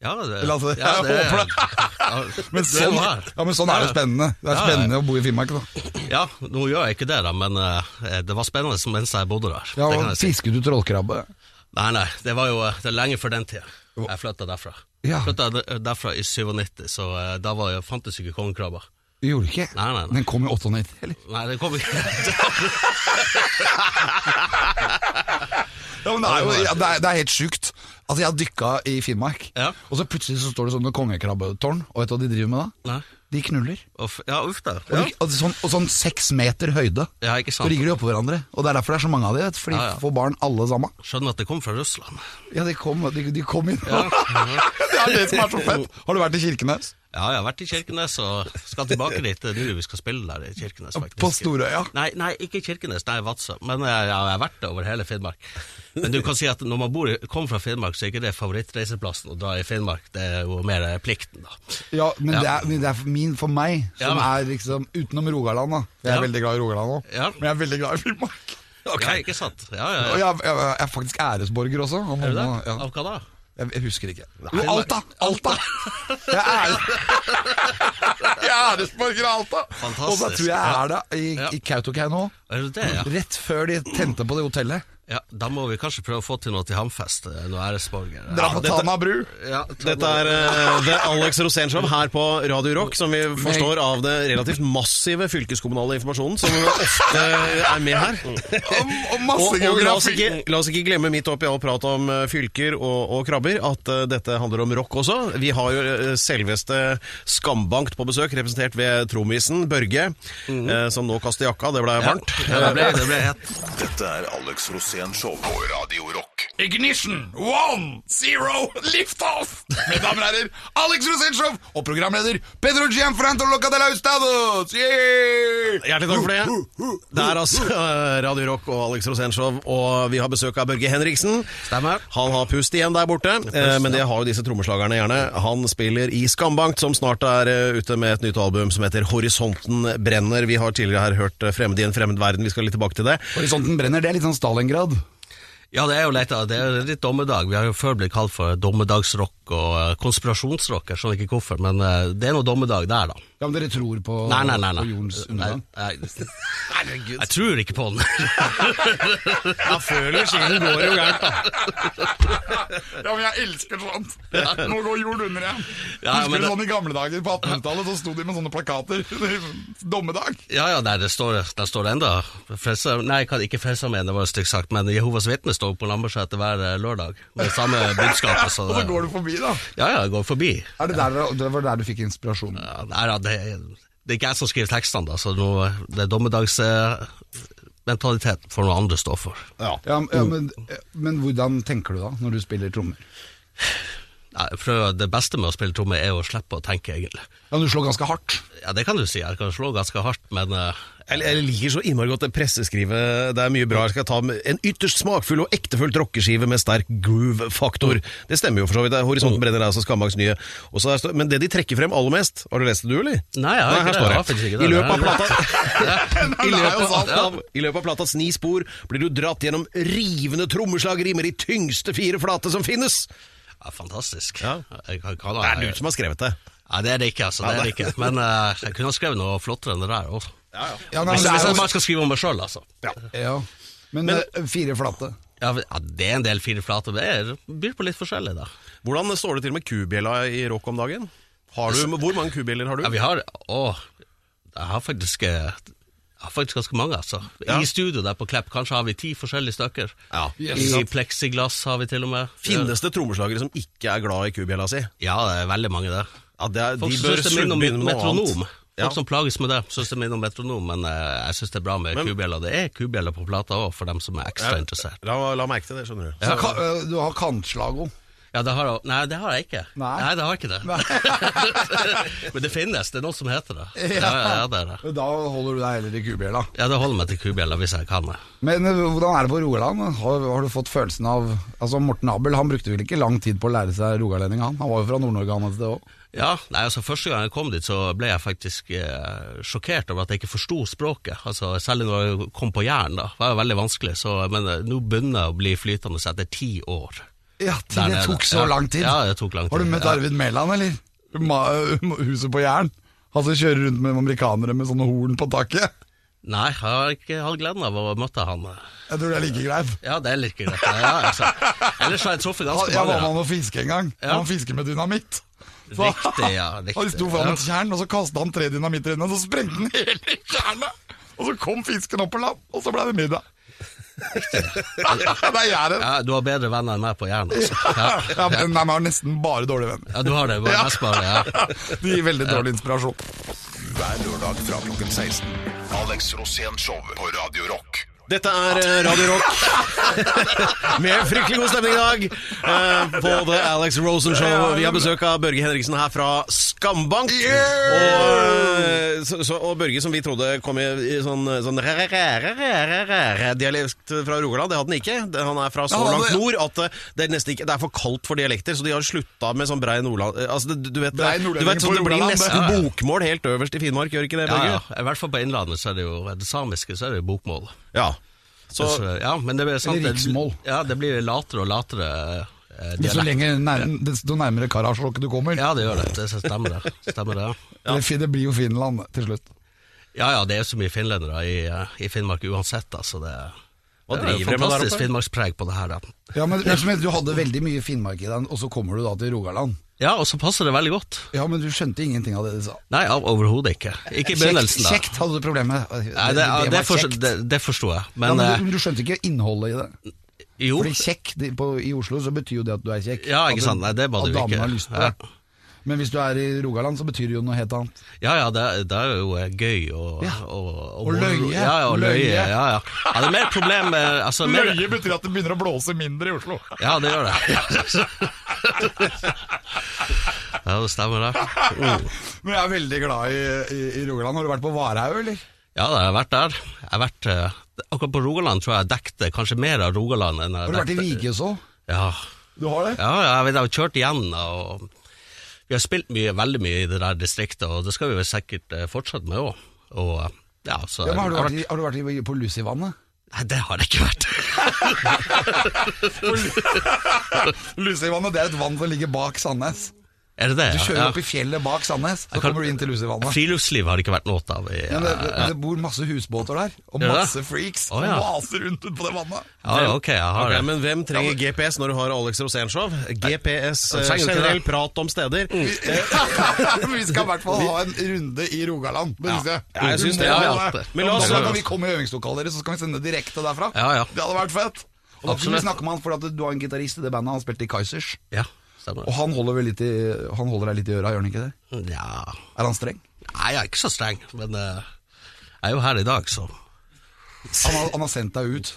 [SPEAKER 5] Ja, det,
[SPEAKER 1] Eller altså,
[SPEAKER 5] ja,
[SPEAKER 1] jeg håper det.
[SPEAKER 5] Ja,
[SPEAKER 1] Men
[SPEAKER 5] du er
[SPEAKER 1] sånn,
[SPEAKER 5] jo her.
[SPEAKER 1] ja, men sånn er det
[SPEAKER 5] Ja.
[SPEAKER 1] spennende. Det er
[SPEAKER 5] Ja,
[SPEAKER 1] spennende å bo i Finnmark, da.
[SPEAKER 5] Ja, nå gjør jeg ikke det, da, men eh, det var spennende som mens jeg bodde der.
[SPEAKER 1] Ja,
[SPEAKER 5] det
[SPEAKER 1] og
[SPEAKER 5] kan jeg si.
[SPEAKER 1] Fisket du trollkrabbe?
[SPEAKER 5] Nei, nei, det var jo eh, det er lenge før den tida. Jeg flytta derfra.
[SPEAKER 1] Ja.
[SPEAKER 5] Jeg Flytta de- derfra i 97, så eh, da var jeg, fantes jo ikke kongekrabber.
[SPEAKER 1] Du gjorde ikke?
[SPEAKER 5] Nei, nei, nei.
[SPEAKER 1] Den kom i 98, eller?
[SPEAKER 5] Nei, det kom ikke
[SPEAKER 1] Ja, men det er jo ja, det er, det er helt sjukt. Altså, jeg har dykka i Finnmark,
[SPEAKER 5] Ja.
[SPEAKER 1] og så plutselig så står det sånne kongekrabbetårn, og vet du hva de driver med da?
[SPEAKER 5] Nei.
[SPEAKER 1] De knuller.
[SPEAKER 5] Uff, ja, uff da.
[SPEAKER 1] Og,
[SPEAKER 5] Ja.
[SPEAKER 1] de, og, sånn, og sånn seks meter høyde.
[SPEAKER 5] ja, ikke
[SPEAKER 1] Så
[SPEAKER 5] sant.
[SPEAKER 1] ligger de oppå hverandre, og det er derfor det er så mange av de, vet, du, for de
[SPEAKER 5] Ja, ja.
[SPEAKER 1] får barn alle sammen.
[SPEAKER 5] Skjønner at det kom fra Russland.
[SPEAKER 1] Ja, de kom, de, de kom inn.
[SPEAKER 5] Ja. ja,
[SPEAKER 1] det er det som er så fett. Har du vært i Kirkenes?
[SPEAKER 5] jeg har vært i Kirkenes og skal tilbake dit eh, nå. Vi skal spille der i Kirkenes, faktisk.
[SPEAKER 1] På Storøya?
[SPEAKER 5] Nei, nei, ikke Kirkenes, nei, Vadsø. Men jeg, jeg har vært det over hele Finnmark. Men du kan si at når man bor, i- kommer fra Finnmark, så er ikke det favorittreiseplassen å dra i Finnmark. Det er jo mer eh, plikten, da.
[SPEAKER 1] Ja, men
[SPEAKER 5] Ja.
[SPEAKER 1] det er, men det er for, min, for meg, som
[SPEAKER 5] Ja.
[SPEAKER 1] er liksom utenom Rogaland, da. Jeg er
[SPEAKER 5] Ja.
[SPEAKER 1] veldig glad i Rogaland òg,
[SPEAKER 5] Ja.
[SPEAKER 1] men jeg er veldig glad i Finnmark.
[SPEAKER 5] Ja, ikke sant? Ja, ja,
[SPEAKER 1] Og
[SPEAKER 5] ja.
[SPEAKER 1] jeg, jeg, jeg er faktisk æresborger også. av
[SPEAKER 5] Er du det?
[SPEAKER 1] mamma, Ja.
[SPEAKER 5] Av hva da?
[SPEAKER 1] Jeg, jeg husker ikke. Jo, Alta! Alta! Jeg er Jeg er æresborger av Alta! Og så
[SPEAKER 5] Fantastisk.
[SPEAKER 1] tror jeg jeg er det i,
[SPEAKER 5] Ja.
[SPEAKER 1] i Kautokeino.
[SPEAKER 5] Er du det, ja?
[SPEAKER 1] Rett før de tente på det hotellet.
[SPEAKER 5] ja? Da må vi kanskje prøve å få til noe til Hamfest, eh, noe æresborger.
[SPEAKER 1] Dra på
[SPEAKER 2] dette-
[SPEAKER 1] Tana bru.
[SPEAKER 5] Ja, ta
[SPEAKER 2] Dette
[SPEAKER 5] noe-
[SPEAKER 2] er eh, The Alex Rosénshow her på Radio Rock, som vi forstår av det relativt massive fylkeskommunale informasjonen som ofte er med her.
[SPEAKER 3] Og, og
[SPEAKER 2] Og,
[SPEAKER 3] masse
[SPEAKER 2] og la, oss
[SPEAKER 3] geografi.
[SPEAKER 2] ikke, la oss ikke glemme midt oppi all prat om eh, fylker og, og krabber, at eh, dette handler om rock også. Vi har jo eh, selveste Skambankt på besøk, representert ved trommisen Børge, eh, som nå kaster jakka, det ble varmt.
[SPEAKER 5] Ja, det ble, det ble hett.
[SPEAKER 4] Dette er Alex Rosén Show på Radio Rock.
[SPEAKER 3] Ignition, one, zero, liftoff! Mine damer og herrer, Alex Rosenshov og programleder Pedro Gianfranto Locadela Ustados! Yeah!
[SPEAKER 2] Hjertelig takk for det. Det er altså eh, Radio Rock og Alex Rosénshow, og vi har besøk av Børge Henriksen.
[SPEAKER 5] Stemmer.
[SPEAKER 2] Han har pust igjen der borte, eh, men det har jo disse trommeslagerne gjerne. Han spiller i Skambankt, som snart er eh, ute med et nytt album som heter Horisonten brenner. Vi har tidligere her hørt eh, Fremmed i en fremmed verden, vi skal litt tilbake til det.
[SPEAKER 1] Horisonten brenner, det er litt sånn Stalingrad.
[SPEAKER 5] Ja, det er jo lett, da. det er litt dommedag. Vi har jo før blitt kalt for dommedagsrock og eh, konspirasjonsrock. Jeg skjønner ikke hvorfor, men eh, det er noe dommedag der, da.
[SPEAKER 1] Ja, men dere tror på,
[SPEAKER 5] Nei, nei, nei. nei.
[SPEAKER 1] på jordens undergang?
[SPEAKER 5] Nei, nei. Jeg tror ikke på den.
[SPEAKER 2] Ja, før eller siden går det jo gærent, da.
[SPEAKER 3] Ja, men jeg elsker sånt! Nå går jorden under igjen.
[SPEAKER 5] Ja, ja,
[SPEAKER 3] Husker du
[SPEAKER 5] men det-
[SPEAKER 3] sånn i gamle dager på 1800-tallet? Så sto de med sånne plakater. Dommedag.
[SPEAKER 5] Ja, ja, nei, det står, der står det enda. Frelser, nei, kan- ikke Frelserarmeen, det var stygt sagt, men Jehovas vitner står på Lambertseter hver eh, lørdag med samme budskap. Så
[SPEAKER 3] Og så går du forbi, da.
[SPEAKER 5] Ja, ja, jeg går forbi.
[SPEAKER 1] Er det, der, dere- det var der du fikk inspirasjonen?
[SPEAKER 5] Ja, nei, ja, det, det er ikke jeg som skriver tekstene, da, så nå, det er dommedagsmentalitet får noe andre stå for.
[SPEAKER 1] Ja, men-
[SPEAKER 5] Mm.
[SPEAKER 1] ja, men, eh, men hvordan tenker du da, når du spiller trommer?
[SPEAKER 5] Nei, jeg prøver, det beste med å spille tromme er å slippe å tenke, egentlig.
[SPEAKER 1] Ja, Du slår ganske hardt.
[SPEAKER 5] Ja, det kan du si. Jeg kan slå ganske hardt, men eh,
[SPEAKER 2] Jeg, jeg liker så innmari godt det presseskrivet. Det er mye bra. Jeg skal ta med en ytterst smakfull og ektefølt rockeskive med sterk groove-faktor. Det stemmer jo for så vidt. Det er Horisonten
[SPEAKER 5] Mm.
[SPEAKER 2] brenner er altså Skambags nye. Og så er det- men det de trekker frem aller mest Har du lest det, du, eller?
[SPEAKER 5] Nei, jeg har ikke
[SPEAKER 2] her
[SPEAKER 5] det.
[SPEAKER 2] står
[SPEAKER 5] Jeg har faktisk ikke det.
[SPEAKER 2] I løpet av
[SPEAKER 5] Det er-
[SPEAKER 2] plata I løpet av,
[SPEAKER 5] Ja.
[SPEAKER 2] av, I løpet av platas ni spor blir du dratt gjennom rivende trommeslageri med de tyngste fire flate som finnes.
[SPEAKER 5] ja, fantastisk.
[SPEAKER 2] Ja.
[SPEAKER 5] Jeg kan, kan,
[SPEAKER 2] Det er du som har skrevet det.
[SPEAKER 5] Nei, det er det ikke, altså. Det er det ikke. Men eh, jeg kunne ha skrevet noe flottere enn det der også.
[SPEAKER 1] Ja, nei,
[SPEAKER 5] Hvis,
[SPEAKER 1] men det
[SPEAKER 5] hvis
[SPEAKER 1] er
[SPEAKER 5] jeg
[SPEAKER 1] jo,
[SPEAKER 5] bare skal skrive om meg sjøl, altså.
[SPEAKER 1] ja. Men, eh, fire flate.
[SPEAKER 5] Ja, ja, det er en del fire flater. Det er, byr på litt forskjellig, da.
[SPEAKER 2] Hvordan står det til med kubjella i rock om dagen? Har du, hvor mange kubjeller har du?
[SPEAKER 5] Ja, vi har Å, jeg har faktisk eh, jeg har faktisk ganske mange, altså. I studio der på Klepp kanskje har vi ti forskjellige stykker.
[SPEAKER 2] Ja.
[SPEAKER 5] I pleksiglass har vi til og med. Eh,
[SPEAKER 2] Finnes det trommeslagere som ikke er glad i kubjella si?
[SPEAKER 5] Ja, det er veldig mange der.
[SPEAKER 2] Ja, det er,
[SPEAKER 5] Folk
[SPEAKER 2] de
[SPEAKER 5] som
[SPEAKER 2] bør
[SPEAKER 5] syns det
[SPEAKER 2] slutte
[SPEAKER 5] minner
[SPEAKER 2] begynne
[SPEAKER 5] om
[SPEAKER 2] med noe
[SPEAKER 5] metronom.
[SPEAKER 2] annet.
[SPEAKER 5] Folk som plages med det, syns det minner om metronom, men eh, jeg syns det er bra med
[SPEAKER 2] Men-
[SPEAKER 5] kubjeller. Det er kubjeller på plata òg, for dem som er ekstra interessert.
[SPEAKER 2] La, la merke til det, skjønner du.
[SPEAKER 1] Så ka, eh, du har kantslago.
[SPEAKER 5] Ja, det har jeg, nei, det har jeg ikke.
[SPEAKER 1] Nei.
[SPEAKER 5] det har jeg ikke det. men det finnes, det er noen som heter det. Ja, ja, ja, det er det.
[SPEAKER 1] Da holder du deg heller i kubjella.
[SPEAKER 5] Ja, det holder meg til kubjeller hvis jeg kan det.
[SPEAKER 1] Men eh, hvordan er det på Rogaland? Har, har du fått følelsen av Altså Morten Abel han brukte vel ikke lang tid på å lære seg rogalending, han? Han var jo fra Nord-Norge han et sted òg.
[SPEAKER 5] Ja, nei, altså Første gang jeg kom dit, så ble jeg faktisk eh, sjokkert over at jeg ikke forsto språket. Altså, Særlig når jeg kom på Jæren. da, var det veldig vanskelig. Så, men eh, nå begynner jeg å bli flytende etter ti år.
[SPEAKER 1] Ja,
[SPEAKER 5] Der
[SPEAKER 1] det
[SPEAKER 5] nede.
[SPEAKER 1] tok så
[SPEAKER 5] Ja.
[SPEAKER 1] lang tid.
[SPEAKER 5] Ja, det tok lang tid.
[SPEAKER 1] Har du møtt
[SPEAKER 5] ja.
[SPEAKER 1] Arvid Mæland, eller? Ma huset på Jæren? Han som kjører rundt med amerikanere med sånne horn på taket?
[SPEAKER 5] Nei, jeg har ikke hatt gleden av å møte han.
[SPEAKER 1] Jeg tror det er like greit.
[SPEAKER 5] Ja, det er litt greit. Ja, altså. Ellers har jeg truffet
[SPEAKER 1] Han-
[SPEAKER 5] ganske
[SPEAKER 1] Jeg
[SPEAKER 5] mange.
[SPEAKER 1] var med
[SPEAKER 5] da.
[SPEAKER 1] han og fiske en gang.
[SPEAKER 5] Ja.
[SPEAKER 1] Han fisker med dynamitt.
[SPEAKER 5] Riktig, ja, riktig.
[SPEAKER 1] Han sto foran
[SPEAKER 5] Ja.
[SPEAKER 1] et tjern, og så kasta han tre dynamitter inn, og så sprengte han hele tjernet! Og så kom fisken opp på land, og så ble det middag. det er Jæren.
[SPEAKER 5] Ja, du har bedre venner enn meg på Jæren, altså. Ja.
[SPEAKER 1] Ja, men de har nesten bare dårlige venner.
[SPEAKER 5] ja, du har det. Bare mest bare, ja.
[SPEAKER 1] De gir veldig dårlig inspirasjon.
[SPEAKER 4] Hver lørdag fra klokken 16. Alex Rosén Show på Radio Rock.
[SPEAKER 2] Dette er eh, Radio Rock med fryktelig god stemning i dag eh, på The Alex Rosen Show. Vi har besøk av Børge Henriksen her fra Skambank. Og, eh, så, så, og Børge, som vi trodde kom i, i sånn, sånn dialekt fra Rogaland, det hadde han ikke. Det- Han er fra så
[SPEAKER 1] Ja, han
[SPEAKER 2] langt
[SPEAKER 1] hadde-
[SPEAKER 2] nord at eh, det er, nesten ikke, det er for kaldt for dialekter, så de har slutta med sånn brei nordland... eh, Altså, det- du vet,
[SPEAKER 3] Brei
[SPEAKER 2] det- du
[SPEAKER 3] nordlending
[SPEAKER 2] vet
[SPEAKER 3] på
[SPEAKER 2] sånn, det blir
[SPEAKER 3] Rogaland, det.
[SPEAKER 2] nesten bokmål helt øverst i Finnmark, gjør ikke det,
[SPEAKER 5] Ja,
[SPEAKER 2] Børge?
[SPEAKER 5] ja. I hvert fall på Innlandet så er det jo det samiske så er det jo bokmål.
[SPEAKER 2] Ja. Så,
[SPEAKER 5] Så, ja, men det blir sant,
[SPEAKER 1] Eller riksmål.
[SPEAKER 5] Det, ja, det blir latere og latere eh,
[SPEAKER 1] Men så
[SPEAKER 5] dialekt.
[SPEAKER 1] lenge nær, desto nærmere Karasjok du kommer.
[SPEAKER 5] Ja, det gjør det. Det stemmer, det. Stemmer det. ja.
[SPEAKER 1] Det fi- Det blir jo Finland til slutt.
[SPEAKER 5] Ja ja, det er så mye finlendere i, eh, i Finnmark uansett, altså. Det,
[SPEAKER 2] Hva
[SPEAKER 5] det er jo
[SPEAKER 2] driver de med der
[SPEAKER 5] fantastisk
[SPEAKER 2] oppe?
[SPEAKER 5] finnmarkspreg på det her. Da.
[SPEAKER 1] Ja, men men Du hadde veldig mye Finnmark i deg, og så kommer du da til Rogaland.
[SPEAKER 5] Ja, og så passer det veldig godt.
[SPEAKER 1] Ja, Men du skjønte ingenting av det du sa.
[SPEAKER 5] Nei, av- overhodet ikke. Ikke i begynnelsen, da.
[SPEAKER 1] kjekt hadde du problemet.
[SPEAKER 5] Nei, det, det, forstår- det, det forstår jeg,
[SPEAKER 1] Ja,
[SPEAKER 5] men
[SPEAKER 1] men,
[SPEAKER 5] eh,
[SPEAKER 1] du, men du skjønte ikke innholdet i det.
[SPEAKER 5] jo.
[SPEAKER 1] Fordi kjekk det, på, i Oslo, så betyr jo det at du er kjekk.
[SPEAKER 5] Ja,
[SPEAKER 1] At
[SPEAKER 5] ikke
[SPEAKER 1] du-
[SPEAKER 5] sant. Nei, det
[SPEAKER 1] At
[SPEAKER 5] bader vi
[SPEAKER 1] damene har lyst på
[SPEAKER 5] ikke.
[SPEAKER 1] deg. Men hvis du er i Rogaland, så betyr det jo noe helt annet.
[SPEAKER 5] Ja ja, det, det er jo eh, gøy og
[SPEAKER 1] Ja.
[SPEAKER 5] Og, og,
[SPEAKER 1] Og løye.
[SPEAKER 5] Ja, ja, og løye.
[SPEAKER 1] Løye.
[SPEAKER 5] Ja, ja. ja, det er mer problem med altså, mer,
[SPEAKER 3] Løye betyr at det begynner å blåse mindre i Oslo.
[SPEAKER 5] Ja, det gjør det. ja, det stemmer det. Mm.
[SPEAKER 1] Men jeg er veldig glad i, i, i Rogaland. Har du vært på Varhaug, eller?
[SPEAKER 5] Ja, da, jeg har vært der. Jeg har vært, eh, akkurat på Rogaland tror jeg jeg dekte kanskje mer av Rogaland enn jeg
[SPEAKER 1] Har du vært i
[SPEAKER 5] dekte-
[SPEAKER 1] Viges òg?
[SPEAKER 5] Ja,
[SPEAKER 1] Du har det?
[SPEAKER 5] ja, ja jeg vet, jeg har kjørt igjen. Og vi har spilt mye, veldig mye i det der distriktet, og det skal vi vel sikkert eh, fortsette med òg. Og, eh, ja, så
[SPEAKER 1] Ja, men har, du
[SPEAKER 5] jeg
[SPEAKER 1] vært i, har du vært i, på Lucivannet?
[SPEAKER 5] Nei, det har jeg ikke vært.
[SPEAKER 3] Lusevannet det er et vann som ligger bak Sandnes.
[SPEAKER 5] er det det?
[SPEAKER 3] Du
[SPEAKER 5] ja?
[SPEAKER 3] kjører
[SPEAKER 5] Ja.
[SPEAKER 3] opp i fjellet bak Sandnes, så
[SPEAKER 5] Jeg kan-
[SPEAKER 3] kommer du inn til Lusevannet.
[SPEAKER 5] Friluftsliv har det ikke vært noe av. I,
[SPEAKER 3] Men det, det, det bor masse husbåter der, og
[SPEAKER 5] Gjør det?
[SPEAKER 3] masse freaks
[SPEAKER 5] Å,
[SPEAKER 3] som
[SPEAKER 5] ja.
[SPEAKER 3] vaser rundt ut på det vannet.
[SPEAKER 5] ja, ja, ok, jeg har
[SPEAKER 2] Ok,
[SPEAKER 5] det.
[SPEAKER 2] men hvem trenger GPS når du har Alex Rosénshow? GPS, eh,
[SPEAKER 5] trenger du ikke
[SPEAKER 2] generell Mm.
[SPEAKER 5] det.
[SPEAKER 2] prat om steder.
[SPEAKER 1] Vi skal i hvert fall ha en runde i Rogaland. Det synes jeg.
[SPEAKER 2] Ja, jeg synes det,
[SPEAKER 1] Vi må
[SPEAKER 2] ja.
[SPEAKER 1] ha det.
[SPEAKER 2] Men la oss-
[SPEAKER 1] Da kan vi komme i øvingslokalet deres, så skal vi sende direkte derfra.
[SPEAKER 5] Ja, ja.
[SPEAKER 1] Det hadde vært fett. Og da kunne
[SPEAKER 5] Absolutt.
[SPEAKER 1] vi snakke med han, for at du har en gitarist i det bandet, han spilte i Kaizers.
[SPEAKER 5] Ja, stemmer.
[SPEAKER 1] Og han holder, vel litt i, han holder deg litt i øra, gjør han ikke det?
[SPEAKER 5] Nja
[SPEAKER 1] Er han streng?
[SPEAKER 5] Nei, jeg er ikke så streng, men eh, jeg er jo her i dag, så
[SPEAKER 1] Han har, han har sendt deg ut.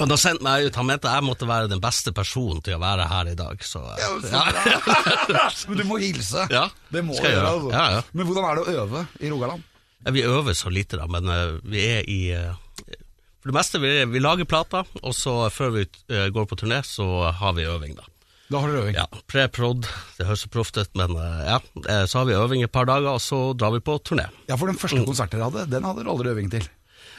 [SPEAKER 5] Han har sendt meg ut. Han mente jeg måtte være den beste personen til å være her i dag, så eh,
[SPEAKER 1] Men du må hilse.
[SPEAKER 5] Ja,
[SPEAKER 1] Det må du
[SPEAKER 5] skal jeg
[SPEAKER 1] gjøre.
[SPEAKER 5] gjøre.
[SPEAKER 1] Altså.
[SPEAKER 5] Ja, ja.
[SPEAKER 1] Men hvordan er det å øve i Rogaland?
[SPEAKER 5] Ja, Vi øver så lite, da, men eh, vi er i eh, For det meste, vi, vi lager plater, og så før vi eh, går på turné, så har vi øving, da.
[SPEAKER 1] Da har dere øving.
[SPEAKER 5] Ja, Pre-prod, det høres så proft ut, men eh, ja. eh, Så har vi øving et par dager, og så drar vi på turné.
[SPEAKER 1] Ja, for den første konserten dere hadde, den hadde dere aldri øving til.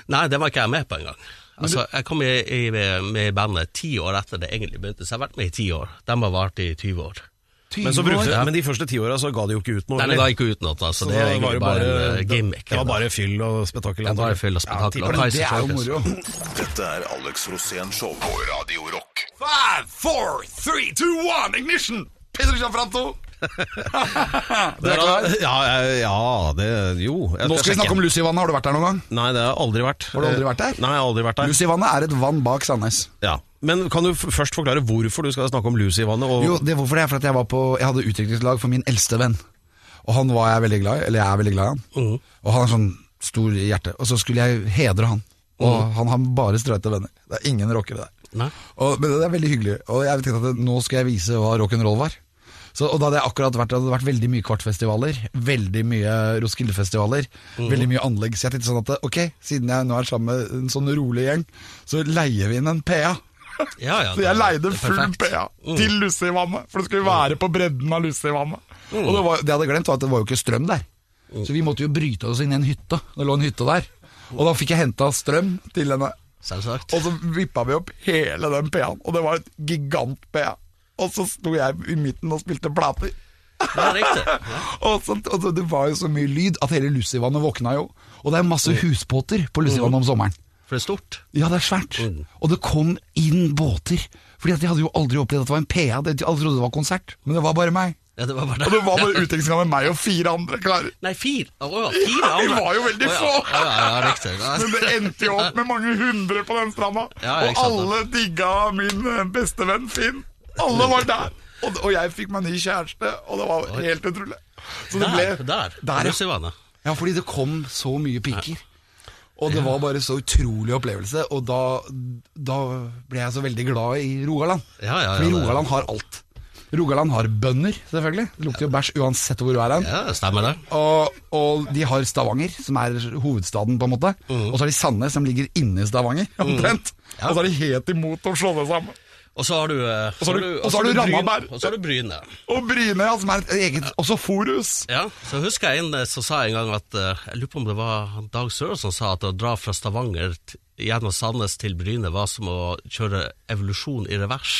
[SPEAKER 5] Nei, det var ikke jeg med på engang. Altså, jeg kom i, i, med i bandet ti år etter det egentlig begynte, så jeg har vært med i ti år. De har vart i 20 år.
[SPEAKER 2] Men, så brukte,
[SPEAKER 5] Ja.
[SPEAKER 2] men de første ti åra så ga de jo ikke ut noe.
[SPEAKER 5] Den
[SPEAKER 2] eller?
[SPEAKER 5] ga ikke ut noe, altså.
[SPEAKER 2] Så
[SPEAKER 5] Det er
[SPEAKER 2] da var
[SPEAKER 5] egentlig
[SPEAKER 2] det
[SPEAKER 5] bare, en
[SPEAKER 2] bare-
[SPEAKER 5] eh, gimmick.
[SPEAKER 2] Det var bare fyll og spetakkel.
[SPEAKER 5] Det er bare
[SPEAKER 2] antakelig.
[SPEAKER 5] fyll og spetakkel.
[SPEAKER 2] Ja,
[SPEAKER 5] og
[SPEAKER 2] tipper det.
[SPEAKER 5] Kaiser
[SPEAKER 1] Det er jo
[SPEAKER 5] Circus.
[SPEAKER 1] moro.
[SPEAKER 4] Dette er Alex Rosénshow på Radio Rock.
[SPEAKER 1] Five, four, three, two, one, ignition! Peter Gianfranto!
[SPEAKER 2] Det er da- Ja, ja, ja, det Jo. jeg
[SPEAKER 1] Nå skal vi
[SPEAKER 2] sjekke.
[SPEAKER 1] snakke om Lucivannet. Har du vært der noen gang?
[SPEAKER 2] Nei, det har jeg aldri vært.
[SPEAKER 1] Har du aldri vært der?
[SPEAKER 2] Nei, jeg har aldri vært der.
[SPEAKER 1] Lucivannet er et vann bak Sandnes.
[SPEAKER 2] Ja. Men kan du f- først forklare hvorfor du skal snakke om lus i vannet? Og
[SPEAKER 1] Jo, det, hvorfor det er fordi at jeg var på Jeg hadde utviklingslag for min eldste venn. Og han var jeg veldig glad i, eller jeg er veldig glad i han. Og han har sånn stor hjerte. Og så skulle jeg hedre han. Og han har bare streite venner. Det er ingen rockere der.
[SPEAKER 5] Nei.
[SPEAKER 1] Og, men det er veldig hyggelig. Og jeg tenkte at nå skal jeg vise hva rock'n'roll var. Så, og da hadde jeg akkurat vært, det hadde vært veldig mye kvartfestivaler, veldig mye Roskilde-festivaler, veldig mye anlegg. Så jeg tenkte sånn at ok, siden jeg nå er sammen med en sånn rolig gjeng, så leier vi inn en PA.
[SPEAKER 5] Ja, ja,
[SPEAKER 1] Så jeg
[SPEAKER 5] det-
[SPEAKER 1] leide
[SPEAKER 5] det er
[SPEAKER 1] full
[SPEAKER 5] perfekt. Mm.
[SPEAKER 1] PA til Lucy-vannet, for det skulle være på bredden av Lucy-vannet.
[SPEAKER 5] Mm.
[SPEAKER 1] Og det, var, det jeg hadde glemt var at det var jo ikke strøm der. Så vi måtte jo bryte oss inn i en hytte. Det lå en hytte der. Og da fikk jeg henta strøm til henne.
[SPEAKER 5] Selvsagt.
[SPEAKER 1] Og så vippa vi opp hele den PA-en, og det var et gigant-PA. Og så sto jeg i midten og spilte plater.
[SPEAKER 5] Det er riktig.
[SPEAKER 1] Og, så, og så, det var jo så mye lyd at hele Lucy-vannet våkna jo. Og det er
[SPEAKER 5] Mm.
[SPEAKER 1] masse husbåter på Lucy-vannet om sommeren.
[SPEAKER 5] For det er stort.
[SPEAKER 1] Ja, det er svært.
[SPEAKER 5] Mm.
[SPEAKER 1] Og det kom inn båter. Fordi at jeg hadde jo aldri opplevd at det var en PA. det- Alle trodde det var konsert, men det var bare meg.
[SPEAKER 5] Ja, det var bare
[SPEAKER 1] Og det var bare utveksling med meg og fire andre klarer.
[SPEAKER 5] Nei, fire. Å, ja, fire andre.
[SPEAKER 1] Det var jo veldig
[SPEAKER 5] Å, ja.
[SPEAKER 1] få.
[SPEAKER 5] Å, ja, ja, riktig. Ja.
[SPEAKER 1] Men det endte jo opp med mange hundre på den stranda.
[SPEAKER 5] Ja, ja,
[SPEAKER 1] og
[SPEAKER 5] ikke sant,
[SPEAKER 1] alle digga min eh, bestevenn Finn. Alle var der. Og, og jeg fikk meg ny kjæreste, og det var helt utrolig. Så det ble
[SPEAKER 5] Der, der.
[SPEAKER 1] Der, ja.
[SPEAKER 5] Russevannet.
[SPEAKER 1] Ja, fordi det kom så mye piker. Og det var bare så utrolig opplevelse, og da, da ble jeg så veldig glad i Rogaland.
[SPEAKER 5] Ja, ja, ja,
[SPEAKER 1] fordi
[SPEAKER 5] det-
[SPEAKER 1] Rogaland har alt. Rogaland har bønder, selvfølgelig. Det lukter jo bæsj uansett hvor du er hen.
[SPEAKER 5] Ja, det stemmer det.
[SPEAKER 1] Og, og de har Stavanger, som er hovedstaden, på en måte.
[SPEAKER 5] Mm.
[SPEAKER 1] Og så har de Sandnes, som ligger inne i Stavanger, omtrent. Og så er de helt imot å slå det sammen.
[SPEAKER 5] Og så har du eh,
[SPEAKER 1] så har du- og så har du
[SPEAKER 5] Bryn-
[SPEAKER 1] Randaberg.
[SPEAKER 5] Og så har du Bryne.
[SPEAKER 1] Og Brynøya, som er et eget Også Forus.
[SPEAKER 5] Ja, så husker jeg en eh, som sa en gang at eh, Jeg lurer på om det var han Dag Søren som sa at å dra fra Stavanger t gjennom Sandnes til Bryne var som å kjøre evolusjon i revers.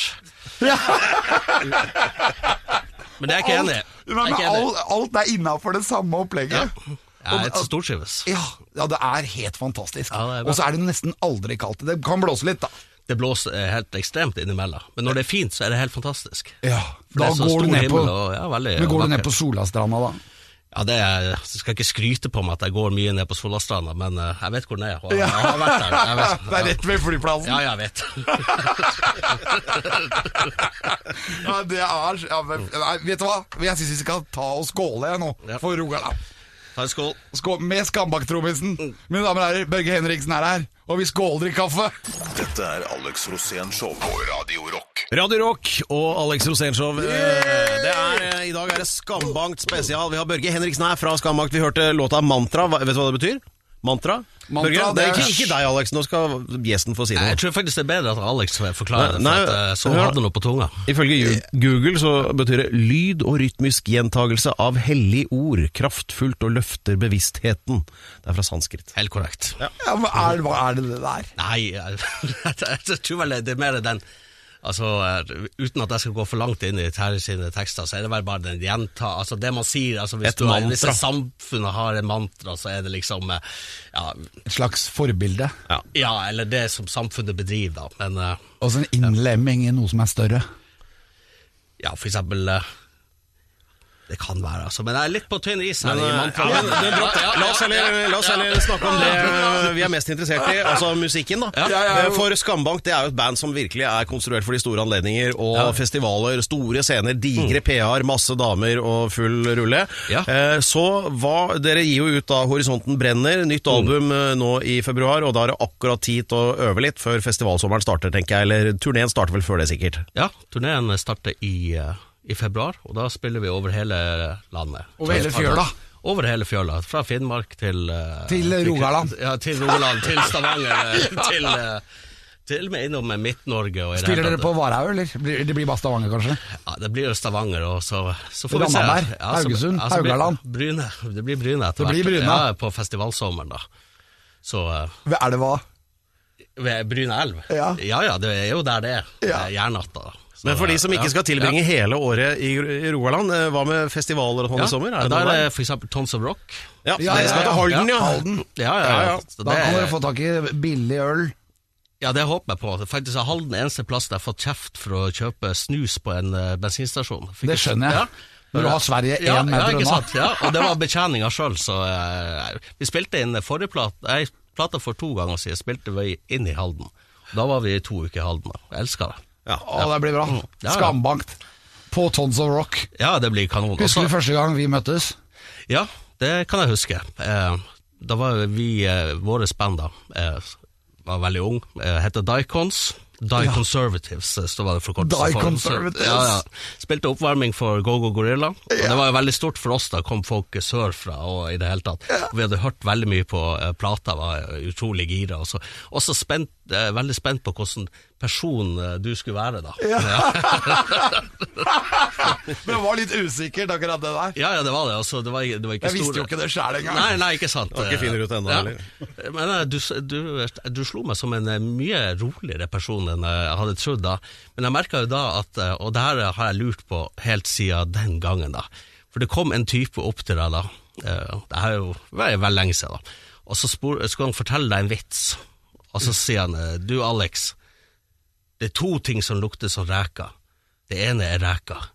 [SPEAKER 5] Men det er jeg ikke enig i.
[SPEAKER 1] Nei,
[SPEAKER 5] Jeg er
[SPEAKER 1] men
[SPEAKER 5] ikke enig i.
[SPEAKER 1] alt, alt er innafor det samme opplegget.
[SPEAKER 5] Ja. Jeg er et stortrives.
[SPEAKER 1] Ja, ja, det er helt fantastisk.
[SPEAKER 5] Ja, det er bra.
[SPEAKER 1] og så er det nesten aldri kaldt. Det kan blåse litt, da.
[SPEAKER 5] Det blåser eh, helt ekstremt innimellom, men når det er fint, så er det helt fantastisk. For
[SPEAKER 1] Da
[SPEAKER 5] det er så
[SPEAKER 1] går du
[SPEAKER 5] stor
[SPEAKER 1] ned på,
[SPEAKER 5] himmel og- ja, veldig
[SPEAKER 1] men går du
[SPEAKER 5] vakkert.
[SPEAKER 1] ned på Solastranda, da.
[SPEAKER 5] Ja, det er, jeg skal ikke skryte på meg at jeg går mye ned på Solastranda, men eh, jeg vet hvor den er. og Jeg har vært der. Jeg vet,
[SPEAKER 1] Det er rett ved flyplassen.
[SPEAKER 5] Ja, jeg vet.
[SPEAKER 1] Ja, det er, ja, men, nei, vet du hva? Jeg syns vi skal ta og skåle jeg, nå,
[SPEAKER 5] Ja.
[SPEAKER 1] for Rogaland.
[SPEAKER 5] Ta en skål.
[SPEAKER 1] Skål, med Skambakk-trommisen. Mine damer og herrer, Børge Henriksen er her, og vi skåler i kaffe.
[SPEAKER 4] Dette er Alex Rosénshow på Radio Rock.
[SPEAKER 2] Radio Rock og Alex Rosénshow. Eh, Det er, eh, I dag er det Skambankt spesial. Vi har Børge Henriksen her fra Skambankt. Vi hørte låta Mantra. Hva- Vet du hva det betyr? Mantra?
[SPEAKER 1] Mantra,
[SPEAKER 2] Børge?
[SPEAKER 1] det
[SPEAKER 2] det
[SPEAKER 1] er-
[SPEAKER 2] er ikke, ikke deg, Alex. Nå skal gjesten få si
[SPEAKER 5] Nei,
[SPEAKER 2] noe.
[SPEAKER 5] Jeg tror faktisk det er bedre at Alex forklarer det, for
[SPEAKER 2] Nei,
[SPEAKER 5] at, eh, så
[SPEAKER 2] hør-
[SPEAKER 5] hadde han noe på tunga.
[SPEAKER 2] Ifølge Ju- Google så betyr det lyd og rytmisk gjentagelse av hellig ord, kraftfullt og løfter bevisstheten. Det er fra sanskrit.
[SPEAKER 5] Helt korrekt.
[SPEAKER 1] Ja, men er, hva er det det der?
[SPEAKER 5] Nei, jeg, jeg tror vel det er mer den Altså, eh, Uten at jeg skal gå for langt inn i Terje sine tekster, så er det vel bare den gjenta Altså det man sier altså Hvis,
[SPEAKER 2] Et
[SPEAKER 5] du, har-
[SPEAKER 2] mantra.
[SPEAKER 5] hvis samfunnet har en mantra, så er det liksom eh, Ja,
[SPEAKER 1] Et slags forbilde.
[SPEAKER 5] ja eller det som samfunnet bedriver, da. Men eh,
[SPEAKER 1] Og en innlemming i noe som er større.
[SPEAKER 5] ja, for eksempel eh, Det kan være, altså. Men jeg er litt på tynn is her.
[SPEAKER 2] Men,
[SPEAKER 5] i
[SPEAKER 2] eh,
[SPEAKER 5] mantra.
[SPEAKER 2] ja, men, det er brått.
[SPEAKER 5] Ja, ja,
[SPEAKER 2] La oss heller,
[SPEAKER 5] ja,
[SPEAKER 2] la oss
[SPEAKER 5] ja.
[SPEAKER 2] heller snakke om det eh, vi er mest interessert i, altså musikken. da
[SPEAKER 5] Ja, ja, ja.
[SPEAKER 2] Eh, For Skambank det er jo et band som virkelig er konstruert for de store anledninger og festivaler, store scener, digre PR, masse damer og full rulle.
[SPEAKER 5] Mm. Ja.
[SPEAKER 2] Eh, Så hva, Dere gir jo ut da 'Horisonten brenner', nytt
[SPEAKER 5] Mm.
[SPEAKER 2] album eh, nå i februar, og da er det akkurat tid til å øve litt før festivalsommeren starter, tenker jeg. Eller turneen starter vel før det, sikkert.
[SPEAKER 5] Ja, turneen starter i, eh, i februar, og da spiller vi over hele landet.
[SPEAKER 1] Over hele fjøla?
[SPEAKER 5] Over hele fjøla, fra Finnmark til eh,
[SPEAKER 1] Til Rogaland.
[SPEAKER 5] Ja, til Rogaland, til Stavanger, eh, til eh, til og med innom eh, Midt-Norge. og i det
[SPEAKER 1] Spiller
[SPEAKER 5] hele
[SPEAKER 1] dere
[SPEAKER 5] tatt-
[SPEAKER 1] på Varhaug, eller? Blir- Det blir bare Stavanger, kanskje?
[SPEAKER 5] Ja, Det blir jo Stavanger, og så, så får vi se.
[SPEAKER 1] Randaberg,
[SPEAKER 5] Ja, så-
[SPEAKER 1] Haugesund,
[SPEAKER 5] ja, så blir-
[SPEAKER 1] Haugaland.
[SPEAKER 5] Bryne. Det blir Bryne etter
[SPEAKER 1] Det blir Bryne.
[SPEAKER 5] Ja, på festivalsommeren, da. Så eh,
[SPEAKER 1] Er det hva?
[SPEAKER 5] ved Bryne elv.
[SPEAKER 1] Ja.
[SPEAKER 5] ja ja, det er jo der det er.
[SPEAKER 1] Ja.
[SPEAKER 5] Eh, Jærnatta. da. Så,
[SPEAKER 2] Men for de som
[SPEAKER 5] eh,
[SPEAKER 2] ikke skal tilbringe hele året i i Rogaland, eh, hva med festivaler og sånn
[SPEAKER 5] ja.
[SPEAKER 2] i sommer?
[SPEAKER 5] Ja,
[SPEAKER 2] Er det
[SPEAKER 5] da
[SPEAKER 2] noe
[SPEAKER 5] er
[SPEAKER 2] der?
[SPEAKER 5] det for eksempel Tons of Rock.
[SPEAKER 2] Ja,
[SPEAKER 1] Ja,
[SPEAKER 2] dere
[SPEAKER 1] ja,
[SPEAKER 2] skal
[SPEAKER 1] ja.
[SPEAKER 2] til Halden, ja.
[SPEAKER 5] Ja, ja, ja. Så
[SPEAKER 1] Da kan dere
[SPEAKER 5] det,
[SPEAKER 1] få tak i billig øl.
[SPEAKER 5] ja, det håper jeg på. Faktisk er Halden eneste plass der jeg har fått kjeft for å kjøpe snus på en eh, bensinstasjon. Fikk
[SPEAKER 1] Det
[SPEAKER 5] et-
[SPEAKER 1] skjønner jeg.
[SPEAKER 5] Ja.
[SPEAKER 1] Når du har Sverige
[SPEAKER 5] Ja,
[SPEAKER 1] én
[SPEAKER 5] ja,
[SPEAKER 1] meter
[SPEAKER 5] ikke
[SPEAKER 1] unna.
[SPEAKER 5] sant? Ja, og det var betjeninga sjøl, så eh, Vi spilte inn forrige plate Nei, plata for to ganger siden spilte vi inn i Halden. Da var vi i to uker i Halden. da. Jeg elsker det.
[SPEAKER 1] Å, det blir bra.
[SPEAKER 5] Ja, ja.
[SPEAKER 1] Skambankt. På Tons of Rock.
[SPEAKER 5] Ja, det blir kanon.
[SPEAKER 1] Husker
[SPEAKER 5] Også-
[SPEAKER 1] du første gang vi møttes?
[SPEAKER 5] Ja, det kan jeg huske. Eh, da var vi, eh, våre band da, eh, var veldig ung, eh, hette Dicons. Die Conservatives, eh, så var det forkortelse
[SPEAKER 1] Die
[SPEAKER 5] for.
[SPEAKER 1] Conservatives.
[SPEAKER 5] Så, ja, ja. Spilte oppvarming for Go-Go Gorilla, og det var jo veldig stort for oss. Da kom folk sørfra og i det hele tatt. Og Vi hadde hørt veldig mye på eh, plata, var utrolig gira. Og så også spent, eh, veldig spent på hvordan person eh, du skulle være, da.
[SPEAKER 1] Men det var litt usikkert, akkurat det der.
[SPEAKER 5] Ja, ja, det var det. Altså, det, var, det var ikke
[SPEAKER 1] Jeg visste
[SPEAKER 5] store-
[SPEAKER 1] jo ikke det selv engang.
[SPEAKER 5] Nei, nei, ikke sant.
[SPEAKER 2] ikke finner ut ennå, heller.
[SPEAKER 5] Men eh, du, du, du slo meg som en eh, mye roligere person enn jeg hadde trodd da. Men jeg merka jo da at eh, Og det her har jeg lurt på helt siden den gangen, da. For det kom en type opp til deg da. eh, Det her er jo veldig, veldig lenge siden, da. Og så spor, skulle han fortelle deg en vits, og så sier han eh, Du, Alex. Det er to ting som lukter som reker. Det ene er reker.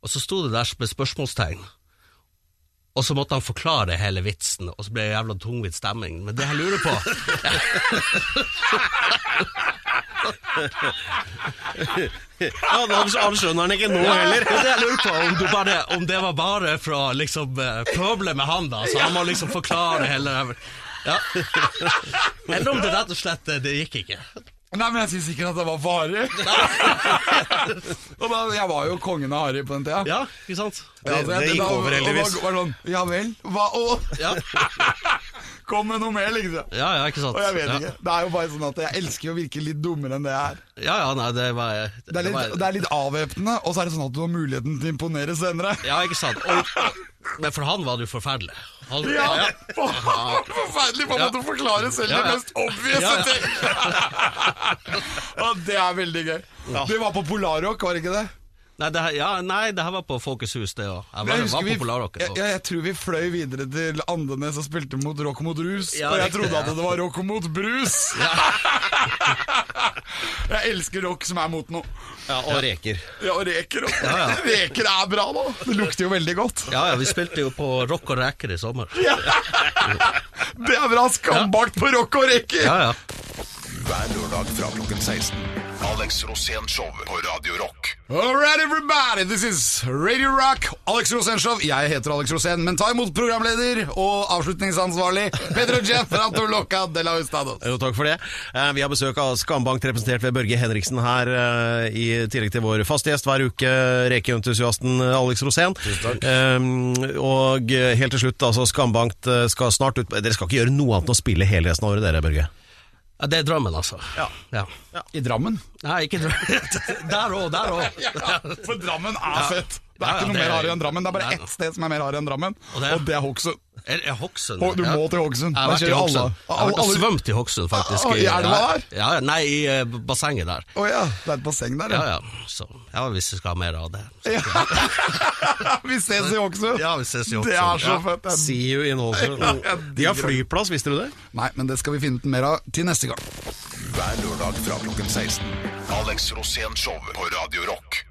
[SPEAKER 5] Og så sto det der med spørsmålstegn. Og så måtte han forklare hele vitsen, og så ble det jævla tungvint stemming. Men det jeg lurer på
[SPEAKER 2] Ja, da han skjønner han ikke nå heller.
[SPEAKER 5] Og det jeg lurer på om, du bare, om det var bare fra liksom eh, pøblet med han, da, så han må liksom forklare hele det her. ja. Eller om det rett og slett eh, Det gikk ikke.
[SPEAKER 1] Nei, men jeg syns ikke at det var varig. og da, jeg var jo kongen av Harry på den tida.
[SPEAKER 5] Ja, ikke sant?
[SPEAKER 1] Ja, så jeg-
[SPEAKER 2] det gikk
[SPEAKER 1] da-
[SPEAKER 2] over,
[SPEAKER 1] og da
[SPEAKER 2] heldigvis.
[SPEAKER 1] Var det sånn, ja vel, hva å?
[SPEAKER 5] Ja,
[SPEAKER 1] Kom med noe mer, liksom.
[SPEAKER 5] ja, ja ikke sant.
[SPEAKER 1] Og jeg vet
[SPEAKER 5] Ja.
[SPEAKER 1] ikke. Det er jo bare sånn at jeg elsker jo å virke litt dummere enn det jeg er.
[SPEAKER 5] Ja, ja, nei, det var
[SPEAKER 1] Det er
[SPEAKER 5] var-
[SPEAKER 1] litt, det er litt avvæpnende, og så er det sånn at du har muligheten til å imponere senere.
[SPEAKER 5] Ja, ikke sant. Og, men for han var det jo forferdelig. Han,
[SPEAKER 1] Ja, Forferdelig på en måte å forklare selv det
[SPEAKER 5] Ja, ja.
[SPEAKER 1] mest obvious
[SPEAKER 5] Ja, ja.
[SPEAKER 1] ting. Og det er veldig gøy. Du var på Polarrock, var det ikke det?
[SPEAKER 5] Nei, det her, ja, nei, det her var på Folkets hus, det òg. Jeg var,
[SPEAKER 1] Jeg, husker
[SPEAKER 5] var
[SPEAKER 1] vi,
[SPEAKER 5] på Polarrocken.
[SPEAKER 1] jeg,
[SPEAKER 5] og-
[SPEAKER 1] jeg, jeg tror vi fløy videre til Andenes og spilte mot rock mot rus.
[SPEAKER 5] Ja,
[SPEAKER 1] og jeg
[SPEAKER 5] riktig,
[SPEAKER 1] trodde at
[SPEAKER 5] ja.
[SPEAKER 1] det var rock mot brus. jeg elsker rock som er mot noe.
[SPEAKER 2] Ja, og reker.
[SPEAKER 1] Ja, og reker òg. Reker er bra, da. Det lukter jo veldig godt.
[SPEAKER 5] Ja, ja, vi spilte jo på Rock og Reker i sommer.
[SPEAKER 1] Det er bra skambakt på rock og reker!
[SPEAKER 5] Ja, ja.
[SPEAKER 4] Hver lørdag fra klokken 16. Alex Rosén Show på Radio Rock.
[SPEAKER 1] All right, everybody, this is Radio Rock, Alex Rosenshov. Jeg heter Alex Rosen, men ta imot programleder og avslutningsansvarlig Pedro Gianfranto Loca de la Hustados.
[SPEAKER 2] Jo, takk for det. Eh, Vi har besøk av Skambank, representert ved Børge Henriksen her, eh, i tillegg til vår faste gjest hver uke, rekeentusiasten Alex Rosén. Eh, Og eh, helt til slutt, altså, Skambank eh, skal snart ut Dere skal ikke gjøre noe annet enn å spille hele resten av året, dere, Børge?
[SPEAKER 5] Ja, det er drømmen, altså.
[SPEAKER 2] Ja.
[SPEAKER 1] I Drammen?
[SPEAKER 5] Nei, ikke drømmen. Der òg, der òg.
[SPEAKER 1] for Drammen er fett. Det
[SPEAKER 5] Ja,
[SPEAKER 1] er
[SPEAKER 5] ja,
[SPEAKER 1] ikke noe
[SPEAKER 5] det
[SPEAKER 1] mer
[SPEAKER 5] er-
[SPEAKER 1] harry enn Drammen. Det er
[SPEAKER 5] Nei,
[SPEAKER 1] bare
[SPEAKER 5] nei.
[SPEAKER 1] ett sted som er mer harry enn Drammen,
[SPEAKER 5] Og det er-
[SPEAKER 1] og det er Hokksund.
[SPEAKER 5] Er er Hokksund.
[SPEAKER 1] Å, du
[SPEAKER 5] ja.
[SPEAKER 1] må til Hokksund.
[SPEAKER 5] Jeg har
[SPEAKER 1] Der
[SPEAKER 5] vært i
[SPEAKER 1] kjører alle.
[SPEAKER 5] Hokksund. Jeg har vært og
[SPEAKER 1] Alle-
[SPEAKER 5] svømt i Hokksund, faktisk.
[SPEAKER 1] Å, i elva der?
[SPEAKER 5] Ja, ja, nei, i eh, bassenget der.
[SPEAKER 1] Å ja, det er et basseng der,
[SPEAKER 5] Ja,
[SPEAKER 1] ja.
[SPEAKER 5] ja. Så, ja, hvis vi skal ha mer av det.
[SPEAKER 1] Vi ses i Hokksund!
[SPEAKER 5] Ja, vi ses i
[SPEAKER 1] Det er
[SPEAKER 5] Hokksund.
[SPEAKER 1] så
[SPEAKER 5] Ja.
[SPEAKER 1] fett. det er-
[SPEAKER 2] See you in Holmsund. De har flyplass, visste du det?
[SPEAKER 1] Nei, men det skal vi finne ut mer av til neste gang.
[SPEAKER 4] Hver lørdag fra klokken 16. Alex Rosén Show på Radio Rock.